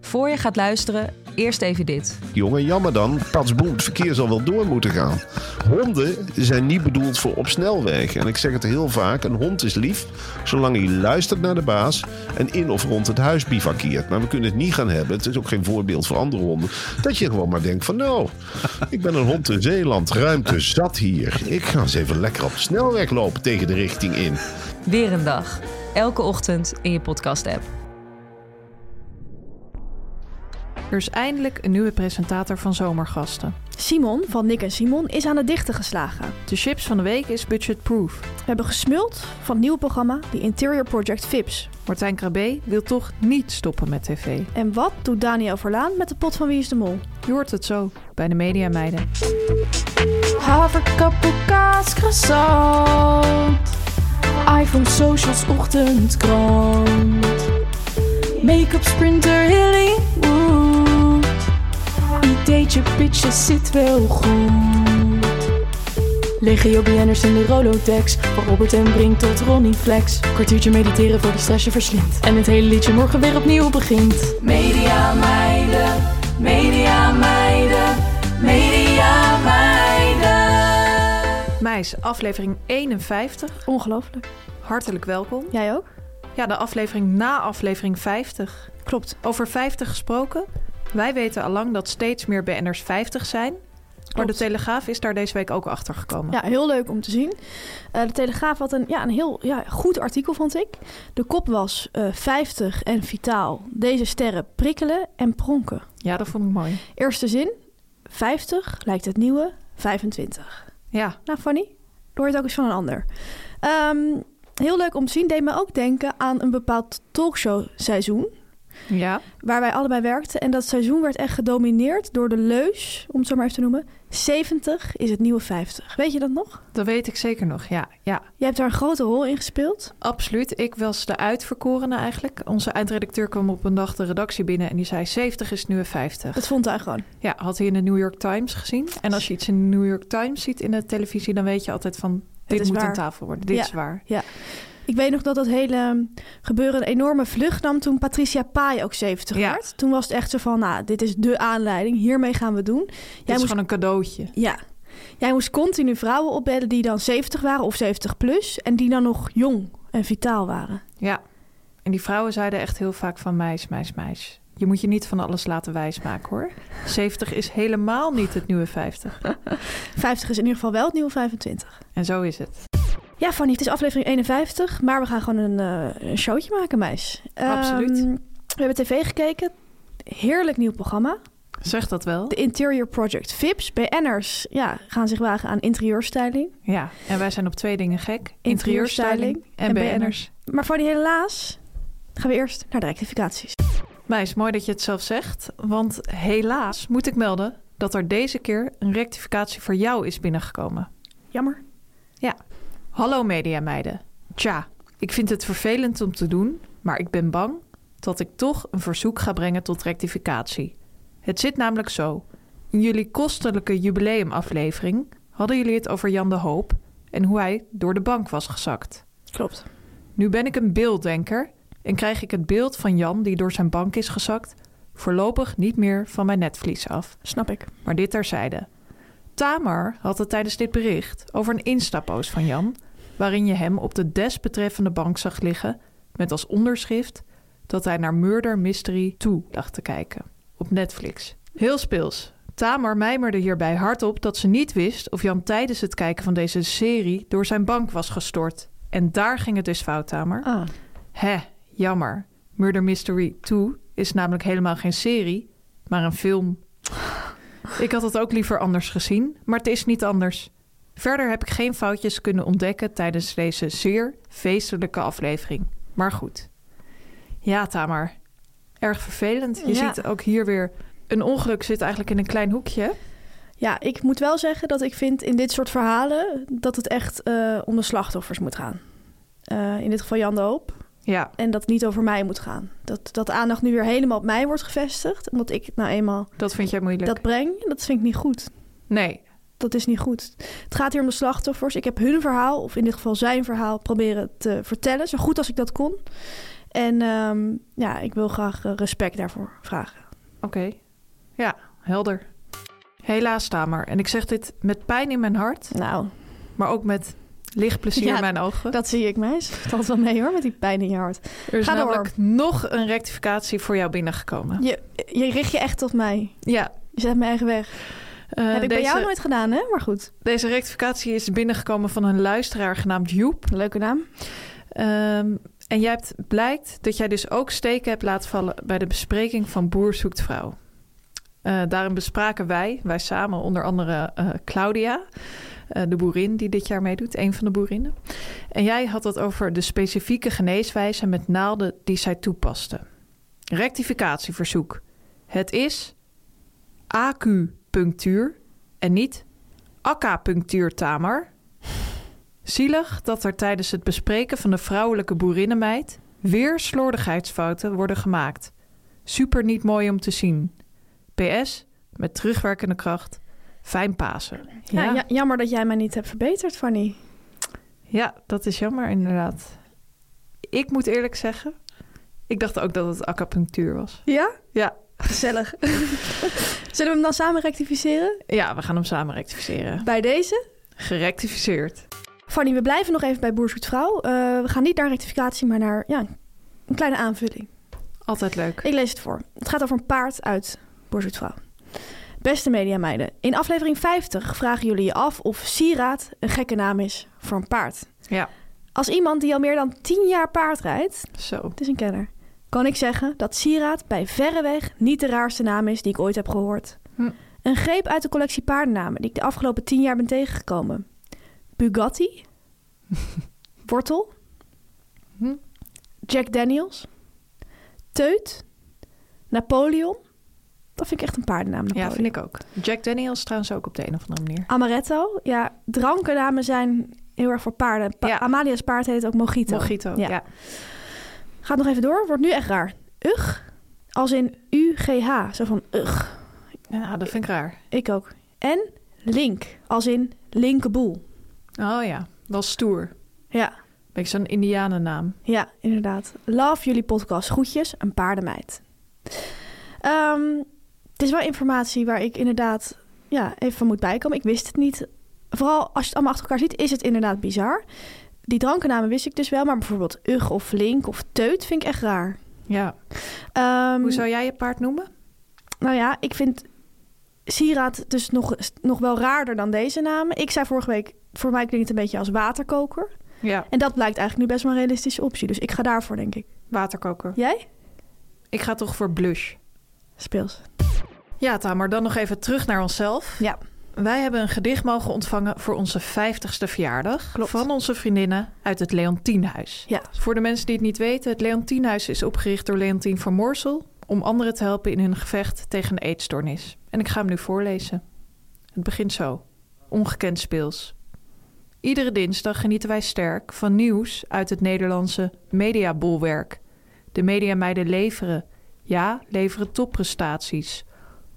Voor je gaat luisteren, eerst even dit. Jongen, jammer dan. Patsboem, het verkeer zal wel door moeten gaan. Honden zijn niet bedoeld voor op snelwegen. En ik zeg het heel vaak, een hond is lief zolang hij luistert naar de baas... en in of rond het huis bivakkeert. Maar we kunnen het niet gaan hebben, het is ook geen voorbeeld voor andere honden... dat je gewoon maar denkt van nou, ik ben een hond in Zeeland, ruimte zat hier. Ik ga eens even lekker op de snelweg lopen tegen de richting in. Weer een dag. Elke ochtend in je podcast-app. Er is eindelijk een nieuwe presentator van Zomergasten. Simon van Nick en Simon is aan de dichten geslagen. De chips van de week is budgetproof. We hebben gesmuld van het nieuwe programma The Interior Project Vips. Martijn Krabbe wil toch niet stoppen met tv. En wat doet Daniel Verlaan met de pot van Wie is de Mol? Je hoort het zo bij de Media Meiden. Haverkappelkaas, croissant. iPhone, socials, ochtendkrant. Make-up, sprinter, Hollywood. Ideetje, pitje, zit wel goed. Legio BN'ers in de Rolodex. Van Robert en Brink tot Ronnie Flex. Kwartiertje mediteren voor de stress je verslindt. En het hele liedje morgen weer opnieuw begint. Media meiden, media meiden, media meiden. Meis, aflevering 51. Ongelooflijk. Hartelijk welkom. Jij ook? Ja, de aflevering na aflevering 50. Klopt. Over 50 gesproken. Wij weten allang dat steeds meer BN'ers 50 zijn. Maar de Klopt. Telegraaf is daar deze week ook achter gekomen. Ja, heel leuk om te zien. Eh, de Telegraaf had een, ja, een heel ja, goed artikel, vond ik. De kop was eh 50 en vitaal. Deze sterren prikkelen en pronken. ja, dat vond ik mooi. Eerste zin. 50 lijkt het nieuwe 25. Ja, Nou, Fanny, hoor je het ook eens van een ander. Ehm, heel leuk om te zien. Deed me ook denken aan een bepaald talkshow-seizoen. ja. Waar wij allebei werkten. En dat seizoen werd echt gedomineerd door de leus, om het zo maar even te noemen. 70 is het nieuwe 50. Weet je dat nog? dat weet ik zeker nog. Ja, ja. Je hebt daar een grote rol in gespeeld. Absoluut. Ik was de uitverkorene eigenlijk. Onze eindredacteur kwam op een dag de redactie binnen en die zei 70 is nu 50. Dat vond hij gewoon. Ja, had hij in de New York Times gezien. En als je iets in de New York Times ziet in de televisie, dan weet je altijd van dit is moet waar. aan tafel worden. Dit is waar. Ik weet nog dat dat hele ehm, gebeuren een enorme vlucht nam toen Patricia Pai ook 70 Ja. werd. Toen was het echt zo van, nou, dit is de aanleiding. Hiermee gaan we het doen. Dit Jij is moest gewoon een cadeautje. Ja. Jij moest continu vrouwen opbellen die dan 70 waren of 70 plus en die dan nog jong en vitaal waren. Ja. En die vrouwen zeiden echt heel vaak van meis, meis, meis. Je moet je niet van alles laten wijsmaken hoor. 70 is helemaal niet het nieuwe 50. 50 is in ieder geval wel het nieuwe 25. En zo is het. Ja, Fanny, het is aflevering 51, maar we gaan gewoon een, eh, een showtje maken, meis. Ehm, Absoluut. we hebben tv gekeken. Heerlijk nieuw programma. Zeg dat wel. De Interior Project Vips. BN'ers ja, gaan zich wagen aan interieurstyling. Ja. En wij zijn op twee dingen gek. Interieurstyling en en BN'ers. Maar Fanny, helaas gaan we eerst naar de rectificaties. Meis, mooi dat je het zelf zegt. Want helaas moet ik melden dat er deze keer een rectificatie voor jou is binnengekomen. Jammer. Hallo mediameiden. Tja, ik vind het vervelend om te doen, maar ik ben bang dat ik toch een verzoek ga brengen tot rectificatie. Het zit namelijk zo. In jullie kostelijke jubileumaflevering hadden jullie het over Jan de Hoop en hoe hij door de bank was gezakt. Klopt. Nu ben ik een beelddenker en krijg ik het beeld van Jan die door zijn bank is gezakt voorlopig niet meer van mijn netvlies af. Snap ik. Maar dit terzijde. Tamar had het tijdens dit bericht over een Insta-post van Jan... waarin je hem op de desbetreffende bank zag liggen... met als onderschrift dat hij naar Murder Mystery 2 lag te kijken op Netflix. Heel speels. Tamer mijmerde hierbij hardop dat ze niet wist of Jan tijdens het kijken van deze serie door zijn bank was gestort. En daar ging het dus fout, Tamer. Ah. Hè, jammer. Murder Mystery 2 is namelijk helemaal geen serie, maar een film. Ik had het ook liever anders gezien, maar het is niet anders. Verder heb ik geen foutjes kunnen ontdekken tijdens deze zeer feestelijke aflevering. Maar goed. Ja, Tamar. Erg vervelend. Je Ja. ziet ook hier weer... Een ongeluk zit eigenlijk in een klein hoekje. hè? Ja, ik moet wel zeggen dat ik vind in dit soort verhalen dat het echt eh, om de slachtoffers moet gaan. Eh, in dit geval Jan de Hoop. Ja. En dat het niet over mij moet gaan. Dat, dat de aandacht nu weer helemaal op mij wordt gevestigd. Omdat ik het nou eenmaal Dat vind jij moeilijk. dat breng. Dat vind ik niet goed. Nee. Dat is niet goed. Het gaat hier om de slachtoffers. Ik heb hun verhaal, of in dit geval zijn verhaal, proberen te vertellen. Zo goed als ik dat kon. En ehm, ja, ik wil graag eh, respect daarvoor vragen. Oké. Ja, helder. Helaas, Tamer. En ik zeg dit met pijn in mijn hart, Nou, maar ook met licht plezier Ja, in mijn ogen. dat zie ik, meis. Valt wel mee hoor, met die pijn in je hart. er is ga door. namelijk nog een rectificatie voor jou binnengekomen. Je, je richt je echt tot mij. Ja. Je zet mijn eigen weg. eh, heb ik deze, bij jou nooit gedaan, hè? Maar goed, Deze rectificatie is binnengekomen van een luisteraar genaamd Joep. leuke naam. Ehm, en jij hebt blijkt dat jij dus ook steken hebt laten vallen bij de bespreking van Boer zoekt vrouw. Eh, daarin bespraken wij, wij samen, onder andere eh, Claudia, eh, de boerin die dit jaar meedoet, een van de boerinnen. En jij had het over de specifieke geneeswijze met naalden die zij toepaste. Rectificatieverzoek. Het is acupunctuur en niet acupunctuur, Tamar. Zielig dat er tijdens het bespreken van de vrouwelijke boerinnenmeid weer slordigheidsfouten worden gemaakt. Super niet mooi om te zien. PS, met terugwerkende kracht, fijn Pasen. Ja. ja, jammer dat jij mij niet hebt verbeterd, Fanny. Ja, dat is jammer inderdaad. Ik moet eerlijk zeggen, ik dacht ook dat het acupunctuur was. Ja? Ja, Gezellig. Zullen we hem dan samen rectificeren? ja we gaan hem samen rectificeren. Bij deze? Gerectificeerd. Fanny, we blijven nog even bij Boer zoekt vrouw. Eh, we gaan niet naar rectificatie, maar naar ja, een kleine aanvulling. Altijd leuk. Ik lees het voor. Het gaat over een paard uit Boer zoekt vrouw. Beste mediameiden, in aflevering 50 vragen jullie je af of sieraad een gekke naam is voor een paard. Ja, Als iemand die al meer dan 10 jaar paard rijdt, zo. Het is een kenner. Kan ik zeggen dat sieraad bij verreweg niet de raarste naam is die ik ooit heb gehoord. Hm. Een greep uit de collectie paardennamen die ik de afgelopen tien jaar ben tegengekomen. Bugatti. Wortel. Hm. Jack Daniels. Teut. Napoleon. Dat vind ik echt een paardennaam. Ja, Napoleon. vind ik ook. Jack Daniels trouwens ook op de een of andere manier. Amaretto. Ja, drankennamen zijn heel erg voor paarden. Pa- Ja. Amalia's paard heet ook Mojito. Mojito, Ja. ja. Gaat nog even door. Wordt nu echt raar. Ugh. Als in U-G-H. Zo van ugh. Ja, dat vind ik raar. Ik ook. En link. Als in linkerboel. Oh ja, wel stoer. Ja. Beetje zo'n indianennaam. Ja, inderdaad. Love jullie podcast. Groetjes. Een paardenmeid. Ehm, het is wel informatie waar ik inderdaad ja, even van moet bijkomen. Ik wist het niet. Vooral als je het allemaal achter elkaar ziet, is het inderdaad bizar. Die drankennamen wist ik dus wel. Maar bijvoorbeeld ug of link of teut vind ik echt raar. Ja. Mm. Ehm, Hoe zou jij je paard noemen? Nou ja, ik vind sieraad dus nog, nog wel raarder dan deze namen. Ik zei vorige week, voor mij klinkt het een beetje als waterkoker. Ja. En dat blijkt eigenlijk nu best wel een realistische optie. Dus ik ga daarvoor, denk ik. Waterkoker. Jij? Ik ga toch voor blush. Speels. Ja, Tamer, dan nog even terug naar onszelf. Ja. Wij hebben een gedicht mogen ontvangen voor onze 50ste verjaardag Klopt. van onze vriendinnen uit het Leontienhuis. Ja. Voor de mensen die het niet weten, het Leontienhuis is opgericht door Leontien van Moorsel om anderen te helpen in hun gevecht tegen een eetstoornis. En ik ga hem nu voorlezen. Het begint zo. Ongekend speels. Iedere dinsdag genieten wij sterk van nieuws uit het Nederlandse mediabolwerk. De mediameiden leveren, ja, leveren topprestaties,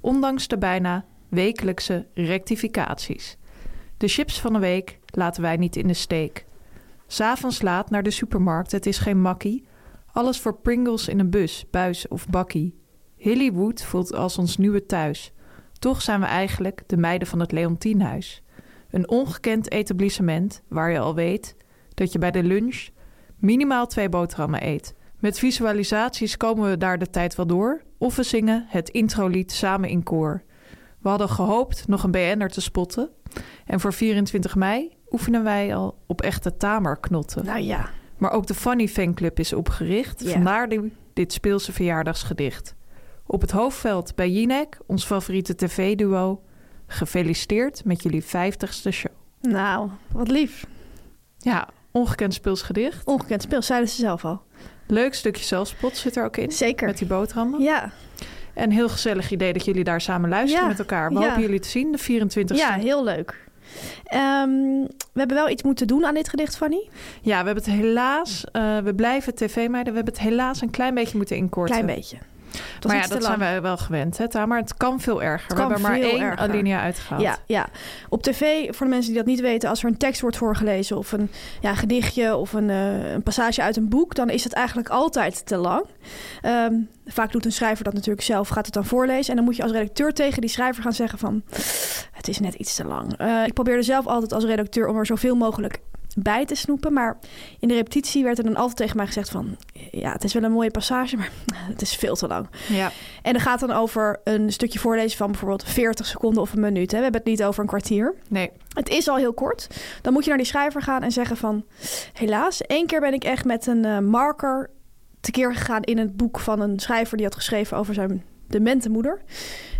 ondanks de bijna wekelijkse rectificaties. De chips van de week laten wij niet in de steek. S'avonds laat naar de supermarkt, het is geen makkie. Alles voor Pringles in een bus, buis of bakkie. Hillywood voelt als ons nieuwe thuis. Toch zijn we eigenlijk de meiden van het Leontienhuis. Een ongekend etablissement waar je al weet dat je bij de lunch minimaal twee boterhammen eet. Met visualisaties komen we daar de tijd wel door, of we zingen het introlied samen in koor. We hadden gehoopt nog een BN'er te spotten. En voor 24 mei oefenen wij al op echte tamerknotten. Nou ja. Maar ook de Funny Fanclub is opgericht. Ja. Vandaar die- dit speelse verjaardagsgedicht. Op het hoofdveld bij Jinek, ons favoriete tv-duo. Gefeliciteerd met jullie 50ste show. Nou, wat lief. Ja, ongekend speels gedicht. Ongekend speel, zeiden ze zelf al. Leuk stukje zelfspot zit er ook in. Zeker. Met die boterhammen. Ja, En heel gezellig idee dat jullie daar samen luisteren Ja, met elkaar. We ja. hopen jullie te zien, de 24ste. ja heel leuk. Ehm, we hebben wel iets moeten doen aan dit gedicht, Fanny. Ja, we hebben het helaas, eh, we blijven tv-meiden, we hebben het helaas een klein beetje moeten inkorten. Klein beetje. Dat eh, maar ja, iets te dat lang. zijn we wel gewend, hè, Tamar? Het kan veel erger. Het we kan hebben maar veel één erger. alinea uitgehaald. Ja, ja, op tv, voor de mensen die dat niet weten, als er een tekst wordt voorgelezen of een ja, gedichtje of een, eh, een passage uit een boek, dan is het eigenlijk altijd te lang. Ehm, vaak doet een schrijver dat natuurlijk zelf, gaat het dan voorlezen. En dan moet je als redacteur tegen die schrijver gaan zeggen van, het is net iets te lang. Eh, ik probeerde zelf altijd als redacteur om er zoveel mogelijk bij te snoepen, maar in de repetitie werd er dan altijd tegen mij gezegd van, ja, het is wel een mooie passage, maar het is veel te lang. Ja. En dat gaat dan over een stukje voorlezen van bijvoorbeeld 40 seconden of een minuut. Hè. We hebben het niet over een kwartier. Nee, Het is al heel kort. Dan moet je naar die schrijver gaan en zeggen van... helaas, één keer ben ik echt met een eh, marker tekeer gegaan... in het boek van een schrijver die had geschreven over zijn demente moeder.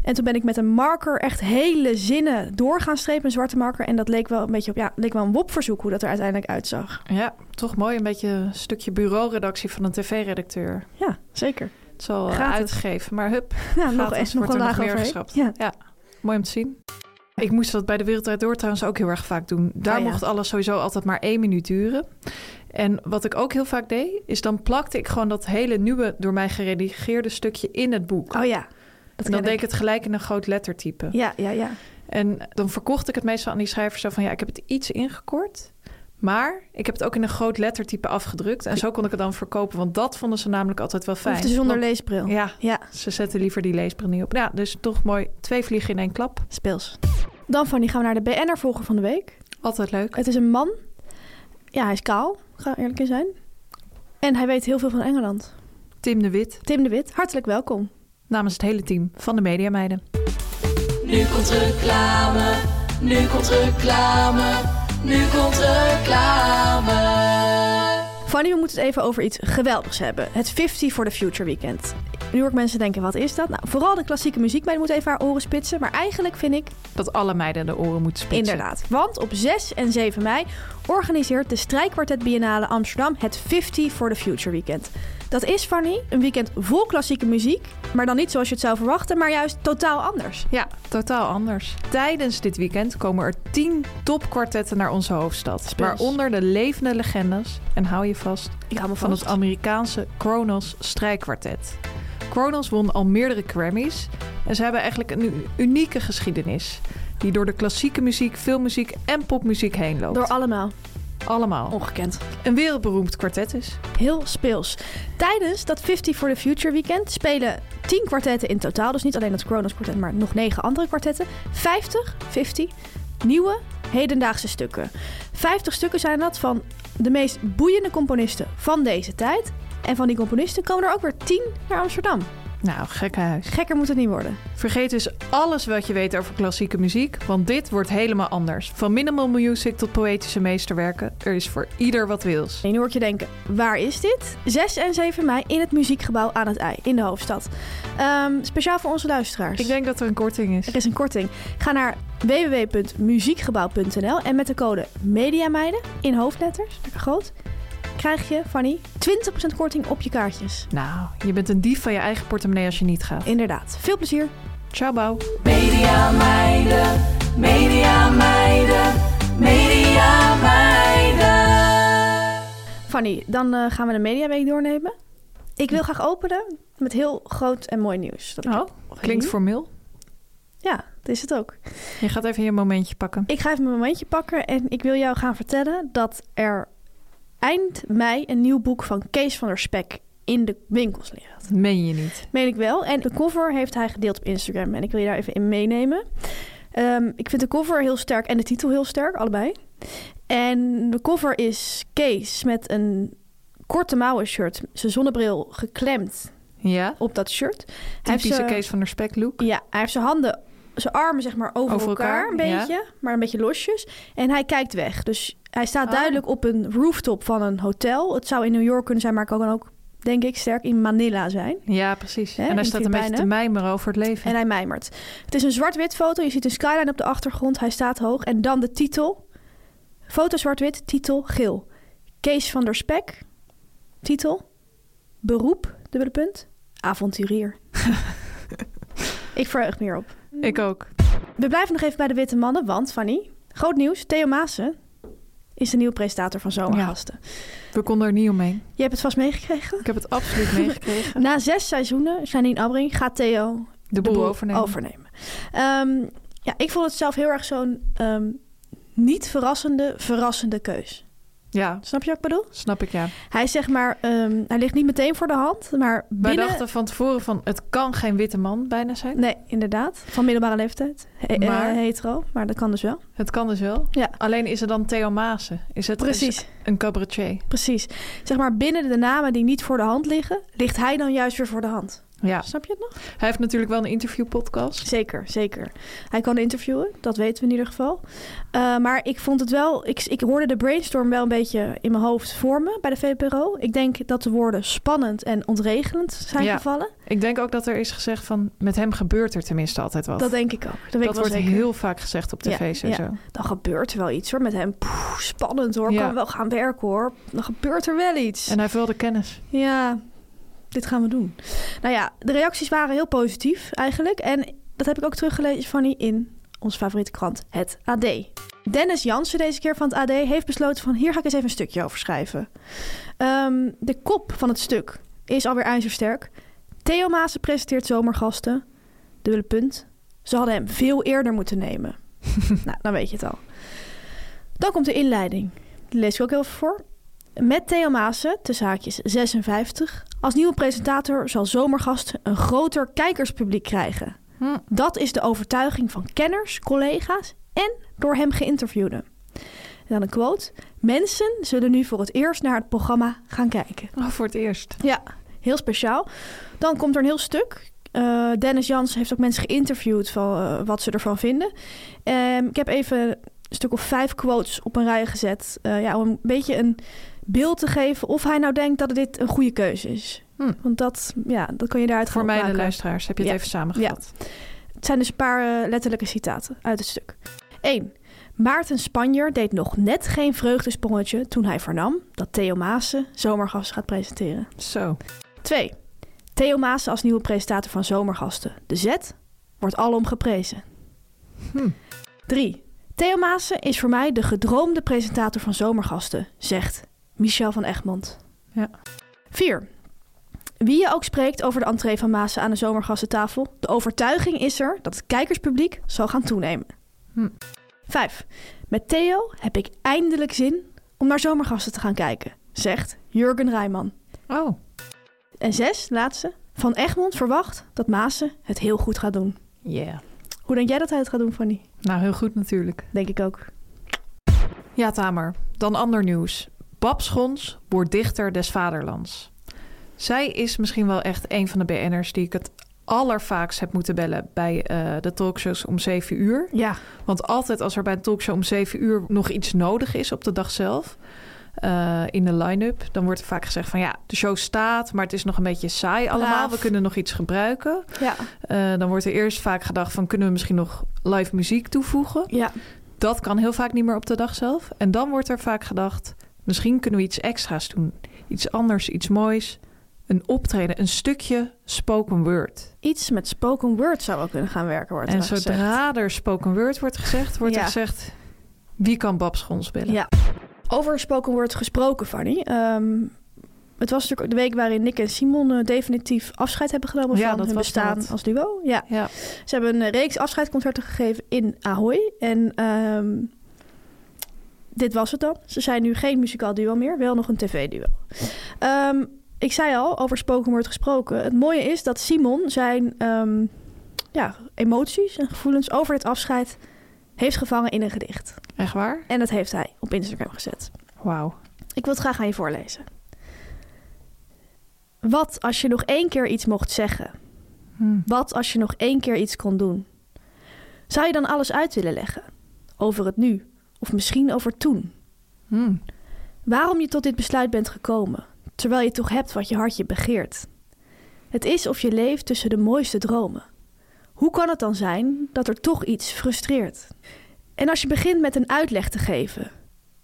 En toen ben ik met een marker echt hele zinnen door gaan strepen, een zwarte marker. En dat leek wel een beetje op, ja, leek wel een wopverzoek hoe dat er uiteindelijk uitzag. ja, toch mooi. Een beetje een stukje bureauredactie van een tv-redacteur. Ja, zeker. Het zal Gaat eh, het. uitgeven, maar hup, Ja, nog, gratis echt nog wordt een er laag nog meer overheen. geschrapt. Ja. mooi om te zien. Ik moest dat bij de Wereld Draait Door trouwens ook heel erg vaak doen. Daar Oh ja. mocht alles sowieso altijd maar één minuut duren. En wat ik ook heel vaak deed, is dan plakte ik gewoon dat hele nieuwe door mij geredigeerde stukje in het boek. Oh ja. Dat en dan ken deed ik het gelijk in een groot lettertype. Ja, ja, ja. En dan verkocht ik het meestal aan die schrijver zo van... ja, ik heb het iets ingekort, maar ik heb het ook in een groot lettertype afgedrukt. En zo kon ik het dan verkopen, want dat vonden ze namelijk altijd wel fijn. Of de zonder Want- leesbril. Ja, ja. ze zetten liever die leesbril niet op. Ja, dus toch mooi twee vliegen in één klap. Speels. Dan Fanny, gaan we naar de BN'er volger van de week. Altijd leuk. Het is een man. Ja, hij is kaal. Ik ga eerlijk in zijn. En hij weet heel veel van Engeland. Tim de Wit, Tim de Wit, hartelijk welkom. namens het hele team van de Media Meiden. Nu komt reclame, nu komt reclame, nu komt reclame. Fanny, we moeten het even over iets geweldigs hebben. Het 50 for the Future weekend. Nu hoor ik mensen denken, wat is dat? Nou, vooral de klassieke muziek, maar moet even haar oren spitsen. Maar eigenlijk vind ik Dat alle meiden de oren moeten spitsen. Inderdaad. Want op 6 en 7 mei organiseert de Strijkkwartet Biennale Amsterdam het 50 for the Future Weekend. Dat is, Fanny, een weekend vol klassieke muziek. Maar dan niet zoals je het zou verwachten, maar juist totaal anders. Ja, totaal anders. Tijdens dit weekend komen er tien topkwartetten naar onze hoofdstad. Waaronder de levende legendes, en hou je vast, Ik hou me van het Amerikaanse Kronos strijkkwartet. Kronos won al meerdere Grammys en ze hebben eigenlijk een u- unieke geschiedenis. Die door de klassieke muziek, filmmuziek en popmuziek heen loopt. Door allemaal. Allemaal. Ongekend. Een wereldberoemd kwartet dus. is. Heel speels. Tijdens dat 50 for the Future weekend spelen 10 kwartetten in totaal. Dus niet alleen het Kronos kwartet, maar nog 9 andere kwartetten. 50, 50 nieuwe hedendaagse stukken. 50 stukken zijn dat van de meest boeiende componisten van deze tijd. En van die componisten komen er ook weer 10 naar Amsterdam. Nou, gekke huis. Gekker moet het niet worden. Vergeet dus alles wat je weet over klassieke muziek, want dit wordt helemaal anders. Van minimal music tot poëtische meesterwerken, er is voor ieder wat wils. En nu hoor ik je denken, waar is dit? 6 en 7 mei in het muziekgebouw aan het IJ, in de hoofdstad. Ehm, speciaal voor onze luisteraars. Ik denk dat er een korting is. Er is een korting. Ga naar www.muziekgebouw.nl en met de code MEDIAMEIDEN in hoofdletters, lekker groot, krijg je, Fanny, 20% korting op je kaartjes. Nou, je bent een dief van je eigen portemonnee als je niet gaat. Inderdaad. Veel plezier. Ciao, bouw. Media meiden, media meiden, media meiden. Fanny, dan eh, gaan we de Mediaweek doornemen. Ik wil graag openen met heel groot en mooi nieuws. Dat ik- Oh, klinkt formeel. Ja, dat is het ook. Je gaat even je momentje pakken. Ik ga even mijn momentje pakken en ik wil jou gaan vertellen dat er eind mei een nieuw boek van Kees van der Spek in de winkels ligt. Dat meen je niet. Meen ik wel. En de cover heeft hij gedeeld op Instagram. En ik wil je daar even in meenemen. Ehm, ik vind de cover heel sterk en de titel heel sterk, allebei. En de cover is Kees met een korte mouwen shirt, zijn zonnebril geklemd Ja, op dat shirt. Hij heeft typische zijn- Kees van der Spek look. Ja, hij heeft zijn handen, zijn armen zeg maar over, Over elkaar, elkaar, een ja. beetje, maar een beetje losjes. En hij kijkt weg. Dus hij staat Oh. duidelijk op een rooftop van een hotel. Het zou in New York kunnen zijn, maar kan ook, denk ik, sterk in Manila zijn. Ja, precies. Hè, en in hij staat een beetje te Filipijnen. mijmeren over het leven. En hij mijmert. Het is een zwart-wit foto. Je ziet een skyline op de achtergrond. Hij staat hoog. En dan de titel. Foto zwart-wit, titel geel. Kees van der Spek. Titel. Beroep, dubbele punt. Avonturier. Ik verheug me hierop. Ik ook. We blijven nog even bij de witte mannen, want Fanny, groot nieuws. Theo Maassen is de nieuwe presentator van Zomergasten. We konden er niet omheen. Je hebt het vast meegekregen. Ik heb het absoluut meegekregen. Na zes seizoenen, Janine Abbring, gaat Theo De boel overnemen. Ehm, ja, ik vond het zelf heel erg zo'n ehm, niet verrassende, verrassende keus. Ja, Snap je wat ik bedoel? snap ik ja. Hij is zeg maar, ehm, hij ligt niet meteen voor de hand, maar Wij binnen... dachten van tevoren van het kan geen witte man bijna zijn. Nee, inderdaad. Van middelbare leeftijd. He- eh, Maar- hetero, maar dat kan dus wel. Het kan dus wel. Ja. Alleen is er dan Theo Maassen. Is het Precies. is een cabaretier? Precies. Zeg maar, binnen de namen die niet voor de hand liggen, ligt hij dan juist weer voor de hand. Ja. Snap je het nog? Hij heeft natuurlijk wel een interviewpodcast. Zeker, zeker. Hij kan interviewen, dat weten we in ieder geval. Eh, maar ik vond het wel, ik, ik hoorde de brainstorm wel een beetje in mijn hoofd vormen bij de VPRO. Ik denk dat de woorden spannend en ontregelend zijn Ja, gevallen. Ik denk ook dat er is gezegd van met hem gebeurt er tenminste altijd wat. Dat denk ik ook. Dat, weet ik Dat wel wordt zeker. heel vaak gezegd op Ja, tv sowieso. ja. Dan gebeurt er wel iets hoor met hem. Poeh, spannend hoor, Ja. kan wel gaan werken hoor. Dan gebeurt er wel iets. En hij heeft wel de kennis. Ja, dit gaan we doen. Nou ja, de reacties waren heel positief eigenlijk. En dat heb ik ook teruggelezen, Fanny, in onze favoriete krant, het AD. Dennis Jansen, deze keer van het AD, heeft besloten van... hier ga ik eens even een stukje over schrijven. Ehm, de kop van het stuk is alweer ijzersterk. Theo Maassen presenteert zomergasten. Dubbele punt. Ze hadden hem veel eerder moeten nemen. nou, dan weet je het al. Dan komt de inleiding. Die lees ik ook heel even voor. Met Theo Maassen, te zaakjes 56, als nieuwe presentator zal Zomergast een groter kijkerspubliek krijgen. Hm. Dat is de overtuiging van kenners, collega's en door hem geïnterviewden. En dan een quote. Mensen zullen nu voor het eerst naar het programma gaan kijken. Oh, voor het eerst. Ja, heel speciaal. Dan komt er een heel stuk. Eh, Dennis Jans heeft ook mensen geïnterviewd van eh, wat ze ervan vinden. Ehm, ik heb even een stuk of vijf quotes op een rij gezet. eh, ja, om een beetje een beeld te geven of hij nou denkt dat dit een goede keuze is. Hm. Want dat, ja, dat kan je daaruit Voor gaan mij de opmaken. luisteraars heb je het Ja. even samengevat. Het zijn dus een paar eh, letterlijke citaten uit het stuk. 1. Maarten Spanjer deed nog net geen vreugdesprongetje toen hij vernam dat Theo Maassen zomergast gaat presenteren. Zo. 2. Theo Maassen als nieuwe presentator van Zomergasten. De zet wordt alom geprezen. Hm. 3. Theo Maassen is voor mij de gedroomde presentator van Zomergasten, zegt Michel van Egmond. Ja. 4. Wie je ook spreekt over de entree van Maassen aan de Zomergastentafel, de overtuiging is er dat het kijkerspubliek zal gaan toenemen. Hm. 5. Met Theo heb ik eindelijk zin om naar Zomergasten te gaan kijken, zegt Jurgen Rijman. Oh, En zes, laatste. Van Egmond verwacht dat Maassen het heel goed gaat doen. yeah. Hoe denk jij dat hij het gaat doen, Fanny? Nou, heel goed natuurlijk. Denk ik ook. Ja, Tamer. Dan ander nieuws. Bab Schons wordt dichter des vaderlands. Zij is misschien wel echt een van de BN'ers die ik het allervaakst heb moeten bellen bij eh, de talkshows om 7 uur. Ja. Want altijd als er bij een talkshow om 7 uur nog iets nodig is op de dag zelf, eh, in de line-up, dan wordt er vaak gezegd van ja, de show staat, maar het is nog een beetje saai allemaal. Braaf. We kunnen nog iets gebruiken. Ja. Eh, dan wordt er eerst vaak gedacht van kunnen we misschien nog live muziek toevoegen. Ja. Dat kan heel vaak niet meer op de dag zelf. En dan wordt er vaak gedacht: misschien kunnen we iets extra's doen. Iets anders, iets moois. Een optreden, een stukje spoken word. Iets met spoken word zou wel kunnen gaan werken, wordt en er gezegd. zodra er spoken word wordt gezegd, wordt Ja. er gezegd: wie kan Bab Schons bellen? Ja. Over spoken word gesproken, Fanny. Ehm, het was natuurlijk de week waarin Nick en Simon eh, definitief afscheid hebben genomen Ja, van dat hun was bestaan wat. als duo. Ja. Ja. Ze hebben een reeks afscheidsconcerten gegeven in Ahoy. En ehm, dit was het dan. Ze zijn nu geen muzikaal duo meer, wel nog een tv-duo. Ehm, ik zei al, over spoken word gesproken. Het mooie is dat Simon zijn ehm, ja, emoties en gevoelens over dit afscheid heeft gevangen in een gedicht. Echt waar? En dat heeft hij op Instagram gezet. Wauw. Ik wil het graag aan je voorlezen. Wat als je nog één keer iets mocht zeggen? Wat als je nog één keer iets kon doen? Zou je dan alles uit willen leggen? Over het nu of misschien over toen? Waarom je tot dit besluit bent gekomen, terwijl je toch hebt wat je hartje begeert? Het is of je leeft tussen de mooiste dromen. Hoe kan het dan zijn dat er toch iets frustreert? En als je begint met een uitleg te geven,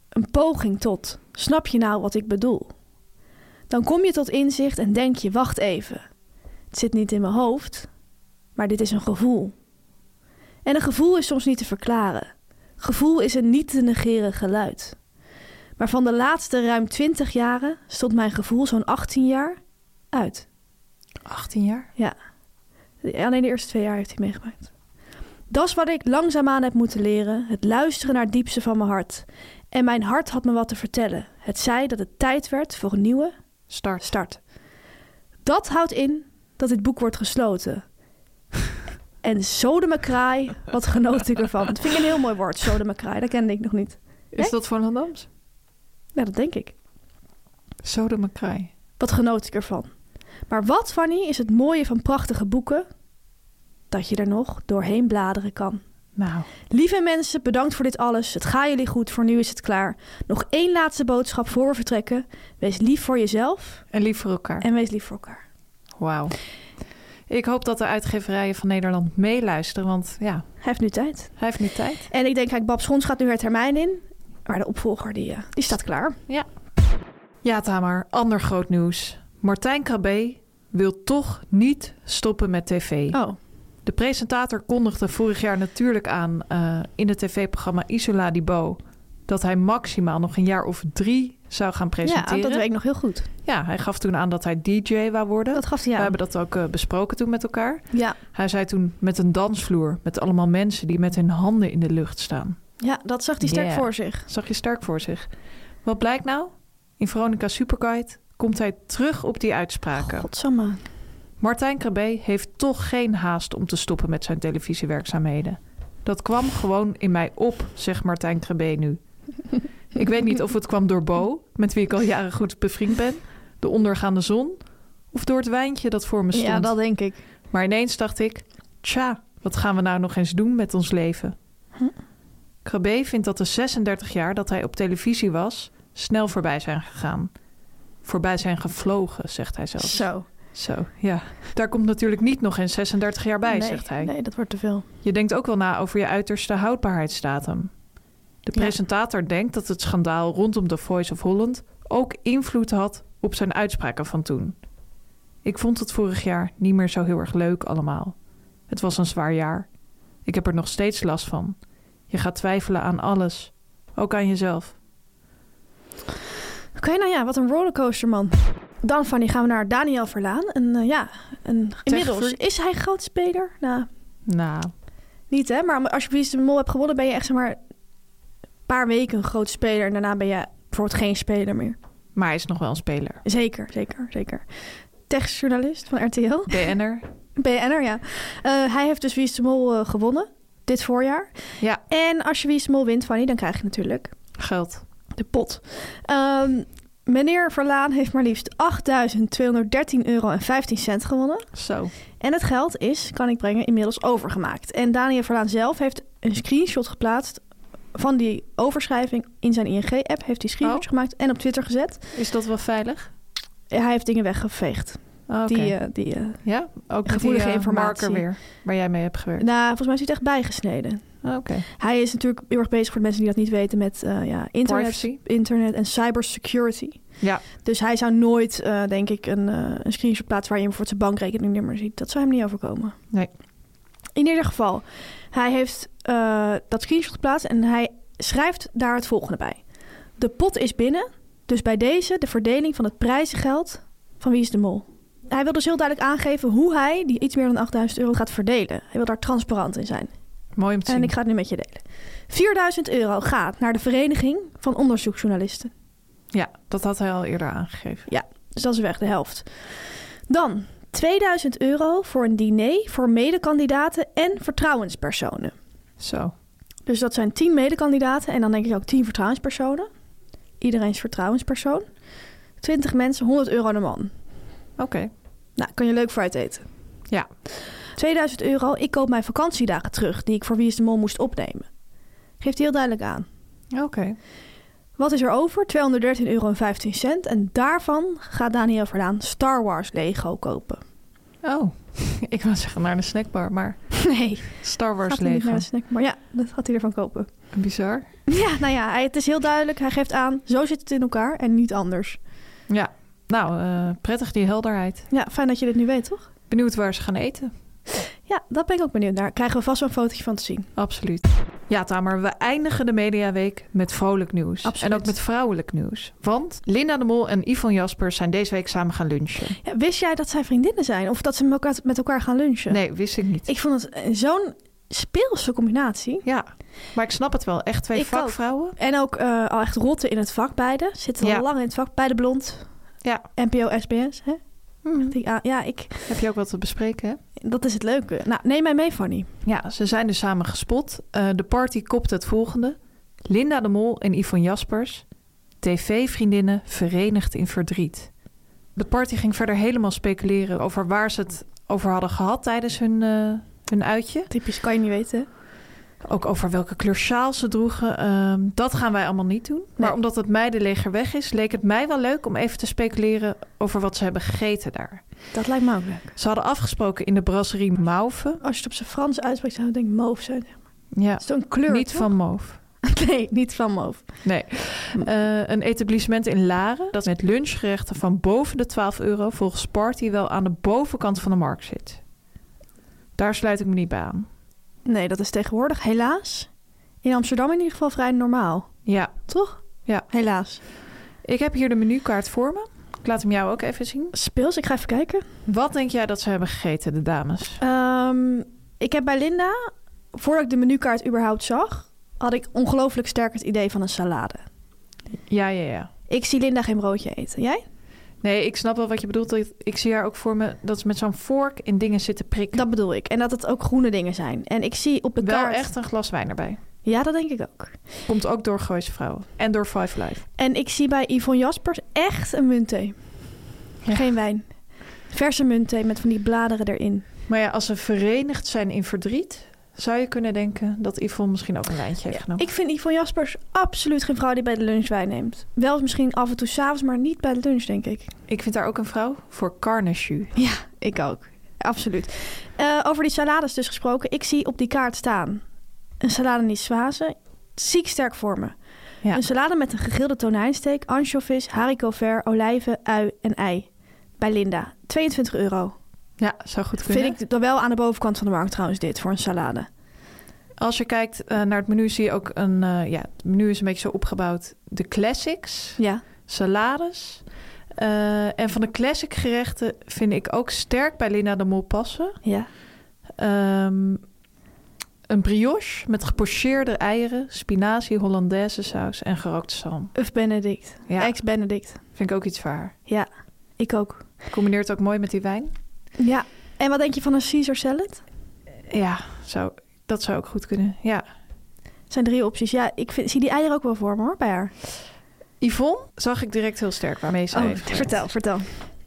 een poging tot, snap je nou wat ik bedoel? Dan kom je tot inzicht en denk je, wacht even. Het zit niet in mijn hoofd, maar dit is een gevoel. En een gevoel is soms niet te verklaren. Gevoel is een niet te negeren geluid. Maar van de laatste ruim 20 jaren stond mijn gevoel zo'n 18 jaar uit. 18 jaar? Ja. Alleen de eerste twee jaar heeft hij meegemaakt. Dat is wat ik langzaamaan heb moeten leren. Het luisteren naar het diepste van mijn hart. En mijn hart had me wat te vertellen. Het zei dat het tijd werd voor een nieuwe Start. start. Dat houdt in dat dit boek wordt gesloten. En sodemakraai, wat genoot ik ervan. Dat vind ik een heel mooi woord, sodemakraai. Dat kende ik nog niet. Is dat van Landams? Ja, dat denk ik. Sodemakraai. Wat genoot ik ervan. Maar wat, Fanny, is het mooie van prachtige boeken? Dat je er nog doorheen bladeren kan. Nou. Lieve mensen, bedankt voor dit alles. Het gaat jullie goed, voor nu is het klaar. Nog één laatste boodschap voor we vertrekken. Wees lief voor jezelf En lief voor elkaar. en wees lief voor elkaar. Wauw. Ik hoop dat de uitgeverijen van Nederland meeluisteren, want ja, Hij heeft nu tijd. hij heeft nu tijd. En ik denk, kijk, Bab Schons gaat nu haar termijn in. Maar de opvolger, die, eh, die staat klaar. Ja. Ja, Tamar, ander groot nieuws. Martijn Krabbe wil toch niet stoppen met tv. Oh, De presentator kondigde vorig jaar natuurlijk aan eh, in het tv-programma Isola Di Bo dat hij maximaal nog een jaar of drie zou gaan ja, presenteren. dat weet ik nog heel goed. Ja, hij gaf toen aan dat hij DJ wou worden. Dat gaf hij aan. We hebben dat ook eh, besproken toen met elkaar. Ja, Hij zei toen met een dansvloer met allemaal mensen die met hun handen in de lucht staan. ja dat zag hij sterk Ja. voor zich. Dat zag je sterk voor zich. Wat blijkt nou? In Veronica Superguide komt hij terug op die uitspraken. Godsamme. Martijn Krabbe heeft toch geen haast om te stoppen met zijn televisiewerkzaamheden. Dat kwam gewoon in mij op, zegt Martijn Krabbe nu. Ik weet niet of het kwam door Bo, met wie ik al jaren goed bevriend ben, de ondergaande zon, of door het wijntje dat voor me stond. Ja, dat denk ik. Maar ineens dacht ik, tja, wat gaan we nou nog eens doen met ons leven? Hm? Krabbe vindt dat de 36 jaar dat hij op televisie was, snel voorbij zijn gegaan. Voorbij zijn gevlogen, zegt hij zelf. Zo. Zo, ja. Daar komt natuurlijk niet nog eens 36 jaar bij, nee, zegt hij. Nee, dat wordt te veel. Je denkt ook wel na over je uiterste houdbaarheidsdatum. De Ja. presentator denkt dat het schandaal rondom The Voice of Holland ook invloed had op zijn uitspraken van toen. Ik vond het vorig jaar niet meer zo heel erg leuk allemaal. Het was een zwaar jaar. Ik heb er nog steeds last van. Je gaat twijfelen aan alles, ook aan jezelf. Oké, nou ja, wat een rollercoaster, man. Dan, Fanny, gaan we naar Daniel Verlaan. En eh, ja, en inmiddels Techfreak. is hij groot speler. Nou, Nou, niet hè, maar als je precies de mol hebt gewonnen... ben je echt, zeg maar, een paar weken een groot speler. En daarna ben je bijvoorbeeld geen speler meer. maar hij is nog wel een speler. Zeker, zeker, zeker. Techjournalist van RTL. BN'er. BN'er, ja. Eh, hij heeft dus Wie is de Mol eh, gewonnen. Dit voorjaar. Ja, En als je Wie is de Mol wint, Fanny, dan krijg je natuurlijk geld. de pot. Ehm, meneer Verlaan heeft maar liefst 8.213 euro en 15 cent gewonnen. Zo. En het geld is, kan ik brengen, inmiddels overgemaakt. En Daniel Verlaan zelf heeft een screenshot geplaatst van die overschrijving in zijn ING-app. Heeft hij screenshots Oh. gemaakt en op Twitter gezet. Is dat wel veilig? Ja, Hij heeft dingen weggeveegd. Oké. Die, eh, die, eh, Ja, ook Gevoelige met die, eh, informatie. marker weer, waar jij mee hebt gewerkt. nou, volgens mij is hij het echt bijgesneden. Oké. Hij is natuurlijk heel erg bezig voor de mensen die dat niet weten met eh, ja, internet, Privacy. internet en cybersecurity. Ja, Dus hij zou nooit, eh, denk ik, een, eh, een screenshot plaatsen waar je hem voor zijn bankrekeningnummer ziet. Dat zou hem niet overkomen. Nee. In ieder geval, hij heeft eh, dat screenshot geplaatst en hij schrijft daar het volgende bij. De pot is binnen, dus bij deze de verdeling van het prijzengeld van Wie is de Mol. Hij wil dus heel duidelijk aangeven hoe hij die iets meer dan 8000 euro gaat verdelen. Hij wil daar transparant in zijn. mooi om te zien. En ik ga het nu met je delen. 4000 euro gaat naar de Vereniging van Onderzoeksjournalisten. Ja, dat had hij al eerder aangegeven. Ja, dus dat is weg, de helft. Dan 2000 euro voor een diner voor medekandidaten en vertrouwenspersonen. Zo. Dus dat zijn 10 medekandidaten en dan denk ik ook 10 vertrouwenspersonen. Iedereen is vertrouwenspersoon. 20 mensen, 100 euro de man. Oké. Nou, kan je leuk voor uit eten. Ja. 2000 euro, ik koop mijn vakantiedagen terug... die ik voor Wie is de Mol moest opnemen. Geeft hij heel duidelijk aan. Oké. Wat is er over? 213 euro en 15 cent. En daarvan gaat Daniel Verdaan Star Wars Lego kopen. Oh, ik wou zeggen naar de snackbar, maar Nee, Star Wars gaat hij niet naar de Lego. snack. Maar ja, dat gaat hij ervan kopen. Bizar. Ja, nou ja, hij- het is heel duidelijk. Hij geeft aan, zo zit het in elkaar en niet anders. Ja. Nou, eh, prettig die helderheid. Ja, fijn dat je dit nu weet, toch? Benieuwd waar ze gaan eten. Ja, daar ben ik ook benieuwd naar. Krijgen we vast wel een fotootje van te zien. Absoluut. Ja, Tamer, we eindigen de Mediaweek met vrolijk nieuws. Absoluut. En ook met vrouwelijk nieuws. Want Linda de Mol en Yvonne Jaspers zijn deze week samen gaan lunchen. Ja, wist jij dat zij vriendinnen zijn? Of dat ze met elkaar, met elkaar gaan lunchen? Nee, wist ik niet. Ik vond het eh, zo'n speelse combinatie. Ja, maar ik snap het wel. Echt twee Ik vakvrouwen. En ook eh, al echt rotten in het vak, beide. Zitten Ja. al lang in het vak, beide blond. Ja. NPO, SBS, hè? Hm, Die, ah, ja, ik, Heb je ook wat te bespreken, hè? dat is het leuke. Nou, neem mij mee, Fanny. Ja, ze zijn dus samen gespot. Eh, de party kopt het volgende. Linda de Mol en Yvonne Jaspers. TV-vriendinnen verenigd in verdriet. De party ging verder helemaal speculeren over waar ze het over hadden gehad tijdens hun, eh, hun uitje. Typisch, kan je niet weten. Ook over welke kleur sjaal ze droegen. ehm, dat gaan wij allemaal niet doen. Maar Nee. omdat het meidenleger weg is, leek het mij wel leuk om even te speculeren over wat ze hebben gegeten daar. Dat lijkt me ook leuk. Ze hadden afgesproken in de brasserie Mauve. Als je het op zijn Frans uitspreekt, zou ik denken mauve zijn. Dat Ja, is toch een kleur, niet toch? van Mauve. Nee, niet van mauve. Nee. Eh, een etablissement in Laren dat met lunchgerechten van boven de 12 euro volgens Party wel aan de bovenkant van de markt zit. Daar sluit ik me niet bij aan. Nee, dat is tegenwoordig helaas in Amsterdam in ieder geval vrij normaal. Ja, Toch? Ja. Helaas. ik heb hier de menukaart voor me. Ik laat hem jou ook even zien. Speels, ik ga even kijken. Wat denk jij dat ze hebben gegeten, de dames? Ehm, ik heb bij Linda, voordat ik de menukaart überhaupt zag, had ik ongelooflijk sterk het idee van een salade. Ja, ja, ja. Ik zie Linda geen broodje eten. Jij? Nee, ik snap wel wat je bedoelt. Ik- Ik zie haar ook voor me dat ze met zo'n vork in dingen zit te prikken. Dat bedoel ik. En dat het ook groene dingen zijn. En ik zie op de wel kaart... echt een glas wijn erbij. Ja, dat denk ik ook. Komt ook door Gooise Vrouwen. En door Five Live. En ik zie bij Yvonne Jaspers echt een muntthee. Ja. Geen wijn. Verse muntthee met van die bladeren erin. Maar ja, als ze verenigd zijn in verdriet... zou je kunnen denken dat Yvonne misschien ook een lijntje heeft genomen. Ik vind Yvonne Jaspers absoluut geen vrouw die bij de lunch wijn neemt. Wel misschien af en toe s'avonds, maar niet bij de lunch, denk ik. Ik vind haar ook een vrouw voor Carnage. Ja, ik ook. Absoluut. Eh, over die salades dus gesproken. Ik zie op die kaart staan een salade niçoise. Ziek sterk voor me. Ja. Een salade met een gegrilde tonijnsteek, anchovies, haricot vert, olijven, ui en ei. Bij Linda. 22 euro. Ja, zou goed kunnen. Vind ik dan wel aan de bovenkant van de markt trouwens dit voor een salade. Als je kijkt eh, naar het menu zie je ook een... eh, ja, het menu is een beetje zo opgebouwd. De classics. Ja. salades. Eh, en van de classic gerechten vind ik ook sterk bij Linda de Mol passen. Ja. Ehm, een brioche met gepocheerde eieren, spinazie, hollandaise saus en gerookte zalm. Of Benedict. Ja. Ex-Benedict. Vind ik ook iets voor haar. Ja. Ik ook. Combineert ook mooi met die wijn. Ja. En wat denk je van een Caesar salad? Ja, zou, dat zou ook goed kunnen. Ja. Het zijn drie opties. Ja, ik vind, zie die eieren ook wel voor me hoor, bij haar. Yvonne zag ik direct heel sterk waarmee ze heeft gewerkt. Oh, vertel, vertel.